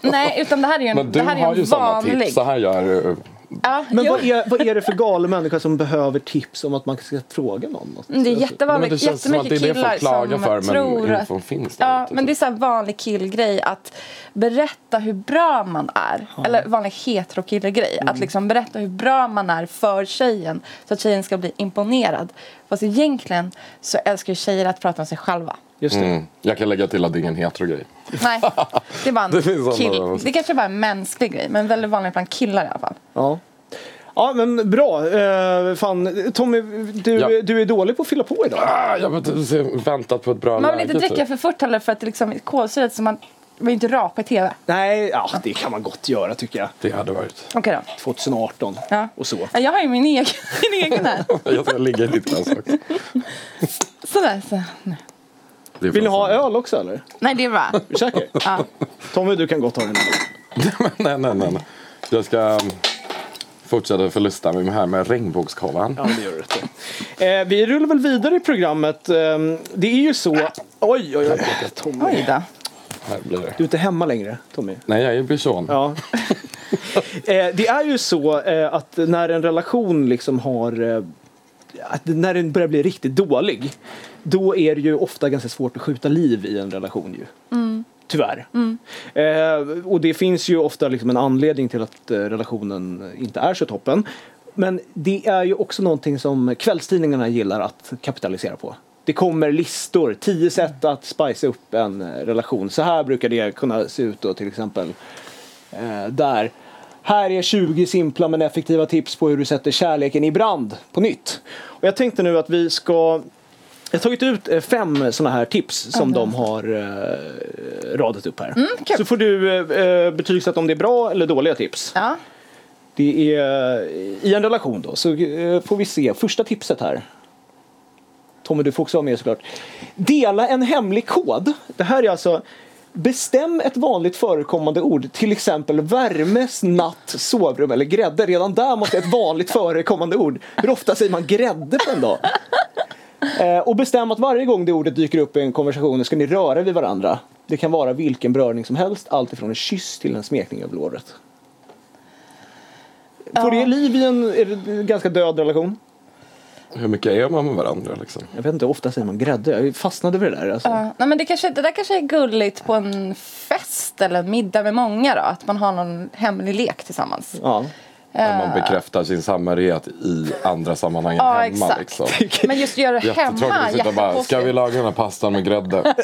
Speaker 3: Nej, utan det här är ju en,
Speaker 2: Men du
Speaker 3: det här är
Speaker 2: har
Speaker 3: en
Speaker 2: ju sådana
Speaker 3: vanlig...
Speaker 2: tips, så här gör eh, du.
Speaker 3: Ja,
Speaker 1: Men
Speaker 3: jo.
Speaker 1: vad är, vad är det för galen människa som behöver tips om att man ska fråga någon? något?
Speaker 3: Mm, Det är
Speaker 2: Nej, men
Speaker 3: jättevanligt.
Speaker 2: det känns som att det
Speaker 3: Jättemycket
Speaker 2: är det
Speaker 3: killar
Speaker 2: folk klagar
Speaker 3: som
Speaker 2: för
Speaker 3: tror
Speaker 2: men
Speaker 3: att...
Speaker 2: infon finns där
Speaker 3: Ja,
Speaker 2: ute,
Speaker 3: men det är
Speaker 2: typ.
Speaker 3: så här vanlig killgrej att berätta hur bra man är. Eller vanlig heterokillegrej. Att
Speaker 2: Mm.
Speaker 3: liksom berätta hur bra man är för tjejen så att tjejen ska bli imponerad. Fast egentligen så älskar ju tjejer att prata om sig själva.
Speaker 1: Just det.
Speaker 2: mm. Jag kan lägga till att det är ingen hetero grej.
Speaker 3: Nej, det är bara en
Speaker 2: Det finns sådana
Speaker 3: kill...
Speaker 2: också.
Speaker 3: Det kanske bara är en mänsklig grej, men väldigt vanligt bland killar i alla fall.
Speaker 1: Ja. Ja men bra. Eh, fan. Tommy, du,
Speaker 2: Ja.
Speaker 1: du är dålig på att fylla på idag.
Speaker 2: Ah, jag har väntat på ett bra
Speaker 3: Man vill inte
Speaker 2: läge,
Speaker 3: dricka
Speaker 2: typ.
Speaker 3: för fort heller för att det liksom är kolsyrat så man vill inte rapa i tv.
Speaker 1: Nej, ja, det kan man gott göra tycker jag.
Speaker 2: Det hade varit.
Speaker 3: Okej då.
Speaker 1: 2018
Speaker 3: Ja.
Speaker 1: och så.
Speaker 3: Ja, jag har ju min egen, min egen här.
Speaker 2: Jag ska ligga i ditt glas också.
Speaker 3: Sådär, så.
Speaker 2: Det är
Speaker 1: Vill ni ha
Speaker 2: fan-
Speaker 1: öl också eller?
Speaker 3: Nej, det är bra.
Speaker 1: Är du säker?
Speaker 3: Ja.
Speaker 1: Tommy, du kan gott ha den. här.
Speaker 2: nej, nej, nej. nej. Jag ska um, fortsätta förlusta mig här med regnbågskavan.
Speaker 1: Ja, det gör du rätt i. eh, Vi rullar väl vidare i programmet. Eh, det är ju så... Oj, oj, oj. Tommy.
Speaker 3: Oj då.
Speaker 2: Här blir det.
Speaker 1: Du är inte hemma längre, Tommy.
Speaker 2: Nej, jag är bison.
Speaker 1: Ja. eh, det är ju så eh, att när en relation liksom har... Eh, att när den börjar bli riktigt dålig då är det ju ofta ganska svårt att skjuta liv i en relation ju. Tyvärr. Eh, och det finns ju ofta liksom en anledning till att eh, relationen inte är så toppen. Men det är ju också någonting som kvällstidningarna gillar att kapitalisera på. Det kommer listor, tio sätt att spicea upp en eh, relation. Så här brukar det kunna se ut då till exempel. Eh, där. Här är 20 simpla men effektiva tips på hur du sätter kärleken i brand på nytt. Och jag tänkte nu att vi ska jag har tagit ut eh, fem sådana här tips som de har eh, radat upp här.
Speaker 3: kul.
Speaker 1: Så får du eh, eh, betygsätta om det är bra eller dåliga tips.
Speaker 3: Ja.
Speaker 1: Det är eh, i en relation då, så eh, får vi se. Första tipset här. Tommy, du får också vara med såklart. Dela en hemlig kod. Det här är alltså Bestäm ett vanligt förekommande ord, till exempel värmes, natt, sovrum eller grädde. Redan där måste ett vanligt förekommande ord. Hur ofta säger man grädde på en dag? Eh, och bestäm att varje gång det ordet dyker upp i en konversation ska ni röra vid varandra. Det kan vara vilken beröring som helst, alltifrån en kyss till en smekning över låret. Får det liv i en, är det en ganska död relation?
Speaker 2: Hur mycket är man med varandra liksom?
Speaker 1: Jag vet inte, ofta säger man grädde. Jag fastnade vid det där. Alltså.
Speaker 3: Ja. Nej, men det, kanske, det där kanske är gulligt på en fest eller en middag med många. Då, att man har någon hemlig lek tillsammans.
Speaker 1: Ja.
Speaker 2: När man bekräftar sin samhörighet i andra sammanhang än
Speaker 3: Eh. Ja,
Speaker 2: hemma
Speaker 3: exakt.
Speaker 2: liksom.
Speaker 3: Men just göra det
Speaker 2: Jättetråkigt
Speaker 3: hemma
Speaker 2: att sitta och bara, ska vi
Speaker 3: jättekonstigt.
Speaker 2: laga den här pastan med grädde?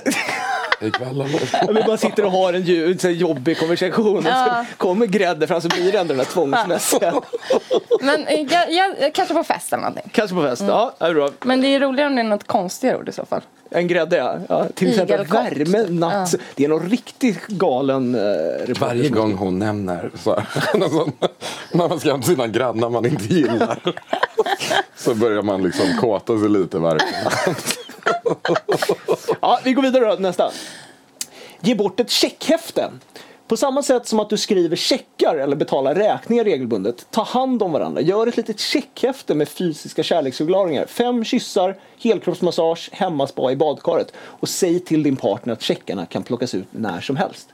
Speaker 2: Ikväll eller?
Speaker 1: Ja, Vi bara sitter och har en, ju- en sån här jobbig konversation och
Speaker 3: Ja.
Speaker 1: så kommer grädde fram så blir det ändå den där tvångsmässiga.
Speaker 3: Men eh, jag, jag, kanske på fest eller någonting.
Speaker 1: Kanske på
Speaker 3: Mm.
Speaker 1: fest. Ja, det är bra.
Speaker 3: Men det är roligare om det är något konstigare ord i så fall.
Speaker 1: En grädde ja. ja. Till exempel
Speaker 3: Igelkott.
Speaker 1: värme, natt. Det är någon riktigt galen eh, reporter
Speaker 2: Varje
Speaker 1: som-
Speaker 2: gång hon nämner så här, någon sån- när man ska hem till sina grannar man inte gillar så börjar man liksom kåta sig lite varje gång.
Speaker 1: Ja, vi går vidare då, till nästa. Ge bort ett checkhäfte. På samma sätt som att du skriver checkar eller betalar räkningar regelbundet, ta hand om varandra. Gör ett litet checkhäfte med fysiska kärleksförklaringar. Fem kyssar, helkroppsmassage, hemmaspa i badkaret. Och säg till din partner att checkarna kan plockas ut när som helst.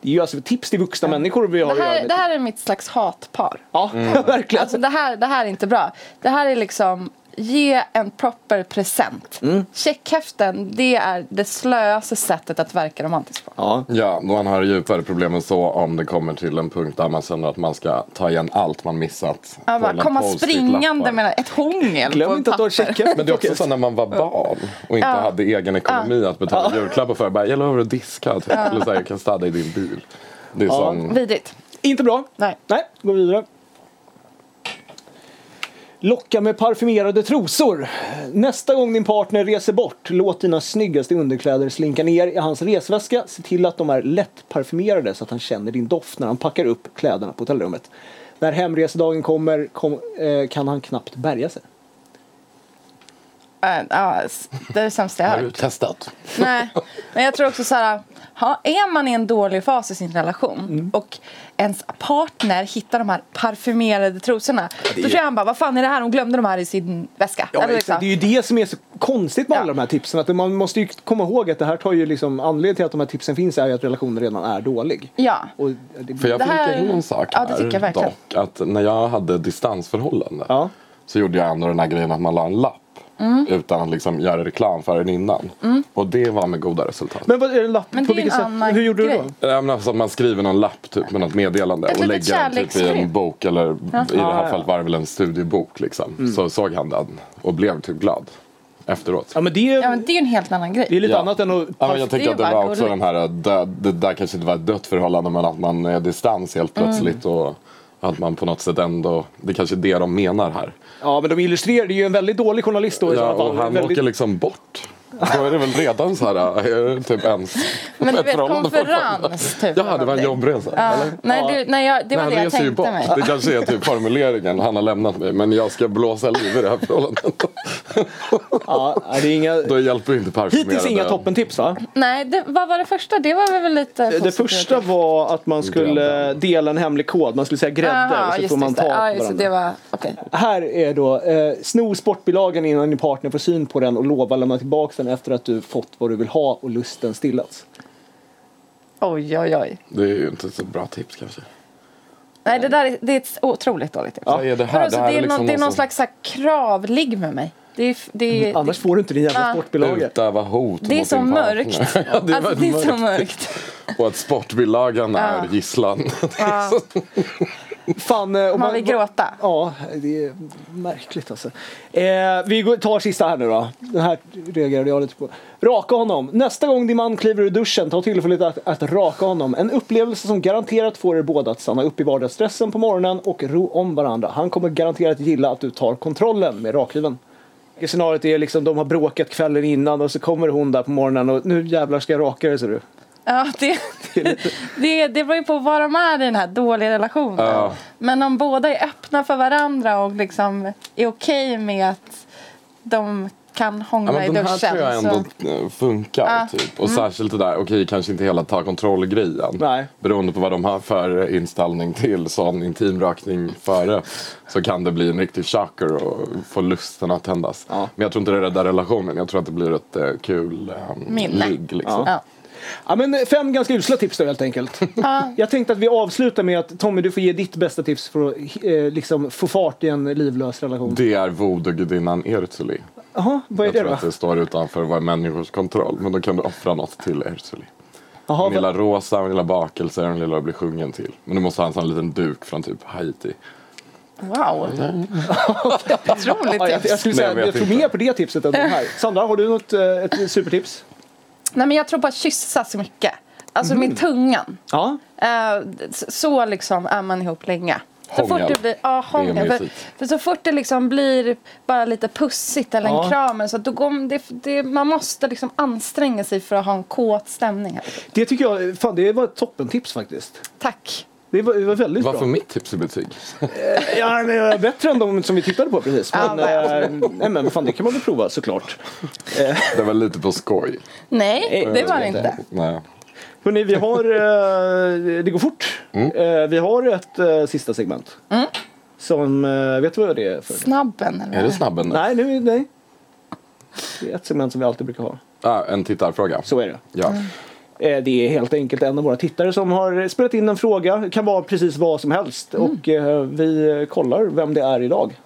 Speaker 1: Det är ju alltså tips till vuxna människor vi har
Speaker 3: Det
Speaker 1: att göra
Speaker 3: här,
Speaker 1: med.
Speaker 3: det här är mitt slags hatpar.
Speaker 1: Ja, verkligen.
Speaker 2: Mm.
Speaker 3: Alltså det här, det här är inte bra. Det här är liksom Ge en proper present.
Speaker 2: Mm.
Speaker 3: Checkhäften, det är det slöaste sättet att verka romantisk på.
Speaker 1: Ja.
Speaker 2: Ja, man har djupare problem än så om det kommer till en punkt där man känner att man ska ta igen allt man missat.
Speaker 3: Ja, bara
Speaker 2: Hålla
Speaker 3: komma
Speaker 2: post-it-lappar.
Speaker 3: springande med ett hångel på
Speaker 1: Glöm inte att du har
Speaker 3: papper.
Speaker 1: checkhäften.
Speaker 2: Men det är också så när man var barn och inte hade egen ekonomi att betala julklappar för. Bara, jag lovar att diska. Typ. Eller så här, jag kan städa i din bil. Det är sån...
Speaker 3: Vidrigt.
Speaker 1: Inte bra.
Speaker 3: Nej.
Speaker 1: Nej, gå vidare. Locka med parfymerade trosor. Nästa gång din partner reser bort, låt dina snyggaste underkläder slinka ner i hans resväska. Se till att de är lättparfymerade så att han känner din doft när han packar upp kläderna på hotellrummet. När hemresedagen kommer kom, eh, kan han knappt bärga sig.
Speaker 3: Äh, ja, s- det är det sämsta jag
Speaker 2: Har
Speaker 3: har
Speaker 2: du
Speaker 3: hört.
Speaker 2: testat?
Speaker 3: Nej, men jag tror också så här. Ha, är man i en dålig fas i sin relation
Speaker 1: Mm.
Speaker 3: och ens partner hittar de här parfymerade trosorna. Då tror jag han bara, vad fan är det här? Hon glömde de här i sin väska.
Speaker 1: Ja,
Speaker 3: Eller
Speaker 1: exakt.
Speaker 3: liksom.
Speaker 1: Det är ju det som är så konstigt med alla
Speaker 3: Ja.
Speaker 1: de här tipsen. Att man måste ju komma ihåg att det här tar ju liksom, anledningen till att de här tipsen finns är ju att relationen redan är dålig.
Speaker 3: Ja.
Speaker 1: Och det,
Speaker 2: För jag
Speaker 3: Det
Speaker 2: fick
Speaker 3: här-
Speaker 2: in en sak
Speaker 3: Ja, det
Speaker 2: här
Speaker 3: fick jag verkligen.
Speaker 2: dock. Att när jag hade distansförhållande
Speaker 1: Ja.
Speaker 2: så gjorde jag ändå den här grejen att man la en lapp.
Speaker 3: Mm.
Speaker 2: Utan att liksom göra reklam för den innan. Och det var med goda resultat.
Speaker 1: Men vad är det lapp?
Speaker 3: Men det
Speaker 1: på
Speaker 3: är ju
Speaker 1: vilket
Speaker 3: en
Speaker 1: sätt?
Speaker 3: annan
Speaker 1: Hur gjorde
Speaker 3: grej.
Speaker 1: du då?
Speaker 2: Ja, men alltså, att man skriver någon lapp typ, med något meddelande
Speaker 3: Ett
Speaker 2: och
Speaker 3: litet
Speaker 2: lägger den typ, i en
Speaker 3: kärleksbrev.
Speaker 2: bok eller i det
Speaker 1: Ah,
Speaker 2: här
Speaker 1: ja.
Speaker 2: fallet var det väl en studiebok. Liksom. Så såg han den och blev typ glad efteråt.
Speaker 1: Ja men det är,
Speaker 3: Ja, men det är ju en helt annan grej.
Speaker 1: det är lite
Speaker 2: Ja.
Speaker 1: annat än att...
Speaker 2: Ja, men jag
Speaker 3: Det är
Speaker 2: tänker att det
Speaker 3: bara
Speaker 2: var också
Speaker 3: gulligt.
Speaker 2: den här, död, det där kanske inte var ett dött förhållande men att man är distans helt plötsligt och att man på något sätt ändå, det är kanske är det de menar här.
Speaker 1: Ja men de illustrerade ju en väldigt dålig journalist då i
Speaker 2: Ja,
Speaker 1: sådana
Speaker 2: och
Speaker 1: fall.
Speaker 2: han
Speaker 1: väldigt...
Speaker 2: åker liksom bort. Då är det väl redan så här, är det typ ens
Speaker 3: Men du
Speaker 2: ett
Speaker 3: vet,
Speaker 2: förhållande fortfarande?
Speaker 3: konferens typ.
Speaker 2: Jaha, det var en
Speaker 3: någonting.
Speaker 2: jobbresa?
Speaker 3: Ja.
Speaker 2: eller?
Speaker 3: Nej, du, nej jag, det var
Speaker 2: Nej,
Speaker 3: det
Speaker 2: han
Speaker 3: jag
Speaker 2: reser ju
Speaker 3: tänkte
Speaker 2: bort.
Speaker 3: mig.
Speaker 2: Det kanske är typ formuleringen, han har lämnat mig men jag ska blåsa liv i det här förhållandet.
Speaker 1: ja, nej, det är inga...
Speaker 2: Då hjälper ju inte parfymerade.
Speaker 1: Hittills inga toppentips va?
Speaker 3: Nej, det, vad var det första? Det var väl lite
Speaker 1: Det
Speaker 3: positivt.
Speaker 1: första var att man skulle
Speaker 2: Grädde.
Speaker 1: dela en hemlig kod, man skulle säga grädde
Speaker 3: Aha,
Speaker 1: och så
Speaker 3: just
Speaker 1: får
Speaker 3: det,
Speaker 1: man
Speaker 3: just det.
Speaker 1: ta på
Speaker 3: Ja, just det,
Speaker 1: varandra.
Speaker 3: det var... Okej.
Speaker 1: Här är då, eh, sno sportbilagan innan din partner får syn på den och lova lämna tillbaka den efter att du fått vad du vill ha och lusten stillats.
Speaker 3: Oj, oj, oj.
Speaker 2: Det är ju inte så bra tips kanske.
Speaker 3: Nej, det där är, det är ett otroligt dåligt tips.
Speaker 2: Vad är det här?
Speaker 3: Men alltså,
Speaker 2: det här
Speaker 3: det, är
Speaker 2: liksom
Speaker 3: någon, det är någon
Speaker 2: som-
Speaker 3: slags så här, krav, ligg med mig. Det är, f- det är, det,
Speaker 1: Annars får du inte din jävla
Speaker 3: Ja.
Speaker 1: sportbilaga.
Speaker 2: Utöva hot
Speaker 3: det är
Speaker 2: mot
Speaker 3: så
Speaker 2: din partner.
Speaker 3: mörkt.
Speaker 2: typ ja, det är
Speaker 3: alltså, det
Speaker 2: väldigt
Speaker 3: är så
Speaker 2: mörkt.
Speaker 3: mörkt.
Speaker 2: Och att sportbilagan är gisslan.
Speaker 3: Ja.
Speaker 1: Fan, eh, om
Speaker 3: Man vill gråta.
Speaker 1: Ja, det är märkligt alltså. Eh, vi går- tar sista här nu då. Den här reagerade jag lite på. Raka honom. Nästa gång din man kliver ur duschen, ta tillfället att, att raka honom. En upplevelse som garanterat får er båda att stanna upp i vardagsstressen på morgonen och ro om varandra. Han kommer garanterat gilla att du tar kontrollen med rakhyveln. Scenariot är liksom de har bråkat kvällen innan och så kommer hon där på morgonen och nu jävlar ska jag raka dig ser du.
Speaker 3: Ja, det, det, det beror ju på vad de är i den här dåliga relationen.
Speaker 2: Ja.
Speaker 3: Men om båda är öppna för varandra och liksom är okej med att de kan
Speaker 2: Ja,
Speaker 3: hångla
Speaker 2: men
Speaker 3: i
Speaker 2: den här
Speaker 3: duschen.
Speaker 2: tror jag ändå
Speaker 3: så.
Speaker 2: eh, funkar.
Speaker 3: Ja. Mm.
Speaker 2: Typ. Och särskilt det där, okej kanske inte hela ta kontroll-grejen.
Speaker 1: Nej.
Speaker 2: Beroende på vad de har för inställning till sån intimrakning före. Så kan det bli en riktig chocker och få lusten att tändas.
Speaker 1: Ja.
Speaker 2: Men jag tror inte det räddar relationen. Jag tror att det blir ett eh, kul eh,
Speaker 3: Minne.
Speaker 2: ligg. Liksom.
Speaker 3: Ja.
Speaker 1: Ja, men fem ganska usla tips då helt enkelt. Jag tänkte att vi avslutar med att Tommy du får ge ditt bästa tips för att eh, liksom, få fart i en livlös relation.
Speaker 2: Det är voodoo-gudinnan Ertuli.
Speaker 1: Jaha, vad är
Speaker 2: Jag
Speaker 1: det
Speaker 2: tror
Speaker 1: då?
Speaker 2: att det står utanför vad är människors kontroll. Men då kan du offra något till
Speaker 1: Jaha,
Speaker 2: Ertuli. Hon
Speaker 1: vad...
Speaker 2: gillar rosa, hon gillar bakelser, hon gillar att bli sjungen till. Men du måste ha en sån liten duk från typ Haiti.
Speaker 3: Wow. Otroligt
Speaker 1: Ja, jag, jag
Speaker 3: tips.
Speaker 1: skulle
Speaker 2: Nej,
Speaker 1: säga
Speaker 2: jag
Speaker 1: jag,
Speaker 2: vet
Speaker 1: jag tror
Speaker 2: inte.
Speaker 1: mer på det tipset än det här. Sandra, har du något eh, ett supertips?
Speaker 3: Nej, men jag tror på att kyssa så mycket. Alltså
Speaker 2: Mm.
Speaker 3: med tungan.
Speaker 1: Ja.
Speaker 3: Eh, s- så liksom är man ihop länge. Så
Speaker 2: Hångel.
Speaker 3: fort det blir, ja,
Speaker 2: Det är
Speaker 3: hångel. För,
Speaker 2: mysigt.
Speaker 3: för så fort det liksom blir bara lite pussigt eller
Speaker 1: Ja.
Speaker 3: en kram eller så, då går det, det, man måste liksom anstränga sig för att ha en kåt stämning. här.
Speaker 1: Det tycker jag, fan det var ett toppentips faktiskt.
Speaker 3: Tack.
Speaker 1: Det var, det var väldigt
Speaker 2: Vad får
Speaker 1: bra.
Speaker 2: mitt tips i betyg?
Speaker 1: Ja, men, eh, bättre än de som vi tittade på precis.
Speaker 3: Ja,
Speaker 1: Men, eh, nej, men fan, det kan man väl prova såklart.
Speaker 2: Det var lite på skoj.
Speaker 3: Nej, det var det inte.
Speaker 2: Nej.
Speaker 1: Hörrni, vi har... Eh, det går fort. Eh, vi har ett eh, sista segment.
Speaker 3: Mm.
Speaker 1: Som... Eh, vet du vad det är för?
Speaker 3: Snabben eller?
Speaker 2: Är det snabben?
Speaker 1: Nej, nu, nej. Det är ett segment som vi alltid brukar ha.
Speaker 2: Ah, en tittarfråga.
Speaker 1: Så är det.
Speaker 2: Ja.
Speaker 3: Mm.
Speaker 1: Eh, Det är helt enkelt en av våra tittare som har spelat in en fråga. Det kan
Speaker 3: Mm.
Speaker 1: vara precis vad som helst. Och eh, vi kollar vem det är idag.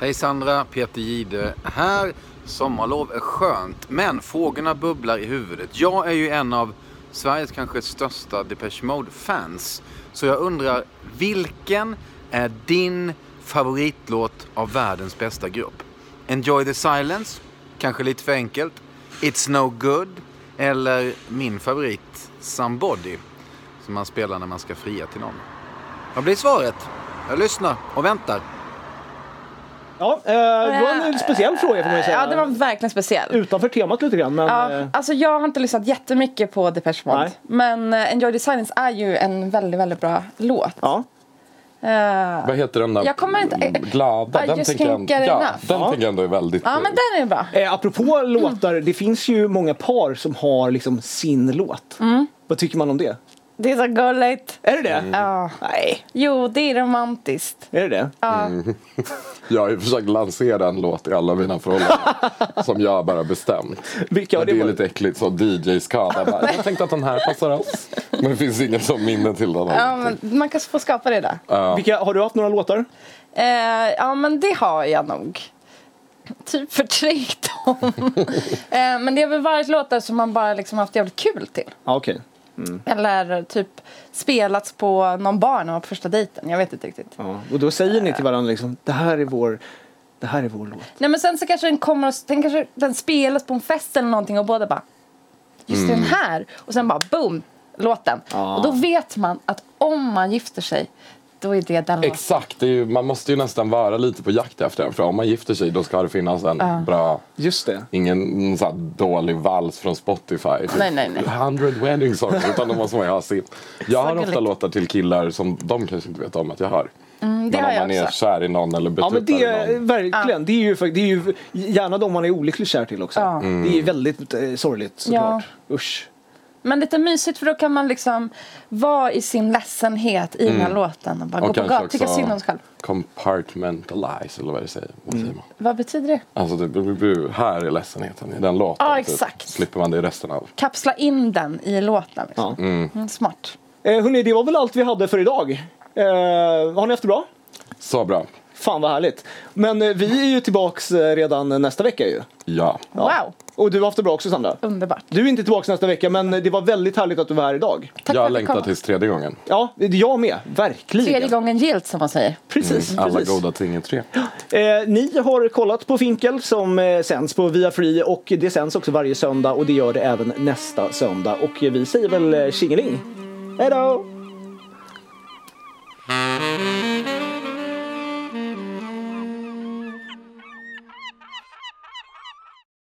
Speaker 4: Hej Sandra, Peter Gide här. Sommarlov är skönt, men frågorna bubblar i huvudet. Jag är ju en av Sveriges kanske största Depeche Mode-fans. Så jag undrar, vilken är din favoritlåt av världens bästa grupp? Enjoy the silence? Kanske lite för enkelt. It's no good? Eller min favorit, Somebody? Som man spelar när man ska fria till någon. Vad blir svaret? Jag lyssnar och väntar.
Speaker 1: Ja, eh, det var en speciell fråga får man ju säga.
Speaker 3: Ja, det var verkligen speciell.
Speaker 1: Utanför temat lite grann. Men, eh,
Speaker 3: Ja, alltså jag har inte lyssnat jättemycket på Depeche Mode.
Speaker 1: Nej.
Speaker 3: Men eh, Enjoy the Silence är ju en väldigt, väldigt bra låt.
Speaker 1: ja.
Speaker 3: Eh,
Speaker 2: Vad heter den där
Speaker 3: Jag kommer inte-
Speaker 2: mm, glada?
Speaker 3: I
Speaker 2: Den,
Speaker 3: just
Speaker 2: tänker jag,
Speaker 3: can't
Speaker 2: ja,
Speaker 3: get
Speaker 2: den
Speaker 3: enough.
Speaker 1: Ja.
Speaker 2: tänker jag ändå är väldigt...
Speaker 3: ja, men den är bra.
Speaker 1: Eh, apropå låtar, det finns ju många par som har liksom sin låt. Vad tycker man om det?
Speaker 3: Det är så gulligt.
Speaker 1: Är det det?
Speaker 3: Ja.
Speaker 1: Nej,
Speaker 3: Jo, det är romantiskt.
Speaker 1: är det det?
Speaker 2: Jag har ju försökt lansera en låt i alla mina förhållanden som jag bara bestämt.
Speaker 1: Vilka har
Speaker 2: Men det
Speaker 1: det
Speaker 2: är
Speaker 1: varit?
Speaker 2: lite äckligt så DJ-skada. bara, Jag tänkte att den här passar oss. Men det finns ingen som minne till den.
Speaker 3: Ja,
Speaker 2: här.
Speaker 3: men man kan få skapa det där.
Speaker 1: Vilka, har du haft några låtar?
Speaker 3: Eh, ja, men det har jag nog. Typ förträngt dem. eh, men det har väl varit låtar som man bara liksom haft jävligt kul till.
Speaker 1: Ja, okej.
Speaker 3: Eller typ spelats på någon bar när man var på första dejten. Jag vet inte riktigt.
Speaker 1: Ja. Och då säger ni till varandra liksom, det här är vår, det här är vår låt.
Speaker 3: Nej men sen så kanske den kommer och den kanske den spelas på en fest eller någonting och båda bara Just den här och sen bara boom låten.
Speaker 1: Ja.
Speaker 3: Och då vet man att om man gifter sig då är det den låten.
Speaker 2: Exakt, det är ju, man måste ju nästan vara lite på jakt efter den. För om man gifter sig då ska det finnas en bra...
Speaker 1: Just det.
Speaker 2: Ingen så här dålig vals från Spotify. typ
Speaker 3: Nej, nej, nej.
Speaker 2: 100 wedding songs. Utan då måste man ju ha sin. Jag har ofta
Speaker 3: gulligt. Mm,
Speaker 2: låtar till killar som de kanske inte vet om att jag har.
Speaker 3: det
Speaker 2: men
Speaker 3: har
Speaker 2: om
Speaker 3: jag
Speaker 2: man är
Speaker 3: också.
Speaker 2: kär i någon eller
Speaker 1: Ja
Speaker 2: betuttar
Speaker 1: men det,
Speaker 2: i
Speaker 3: eh,
Speaker 2: någon.
Speaker 1: verkligen. Det är, ju, fakt- det är ju gärna de man är olycklig kär till också.
Speaker 3: Ja.
Speaker 1: Det är ju väldigt eh, sorgligt såklart. Usch.
Speaker 3: Men lite mysigt för då kan man liksom vara i sin ledsenhet i den här låten och bara gå
Speaker 2: Mm. Och
Speaker 3: på
Speaker 2: kanske
Speaker 3: gatan,
Speaker 2: också
Speaker 3: tycka synd om sig själv.
Speaker 2: compartmentalize eller vad det säger. Vad säger man?
Speaker 3: Vad betyder det?
Speaker 2: Alltså det, bu- bu- bu- här är ledsenheten i den låten.
Speaker 3: Ja,
Speaker 2: typ.
Speaker 3: exakt.
Speaker 2: Slipper man det i resten av.
Speaker 3: Kapsla in den i låten. Liksom.
Speaker 1: Ja.
Speaker 3: Mm, smart.
Speaker 1: Eh, hörni, det var väl allt vi hade för idag. Eh, har ni haft det bra?
Speaker 2: Så bra.
Speaker 1: Fan vad härligt. Men eh, vi är ju tillbaks eh, redan nästa vecka ju.
Speaker 2: Ja.
Speaker 3: Wow,
Speaker 1: Och du har haft det bra också Sandra.
Speaker 3: underbart.
Speaker 1: Du är inte tillbaka nästa vecka men eh, det var väldigt härligt att du var här idag.
Speaker 3: Tack
Speaker 2: jag
Speaker 3: för att du
Speaker 2: längtar
Speaker 3: kom.
Speaker 2: tills tredje gången.
Speaker 1: Ja, jag med. Verkligen.
Speaker 3: Tredje gången gillt som man säger.
Speaker 1: Precis.
Speaker 2: Mm. Alla
Speaker 1: precis.
Speaker 2: goda ting är tre.
Speaker 1: Eh, ni har kollat på Finkel som eh, sänds på Via Free och det sänds också varje söndag och det gör det även nästa söndag. Och vi säger väl eh, tjingeling. eh, Hej då!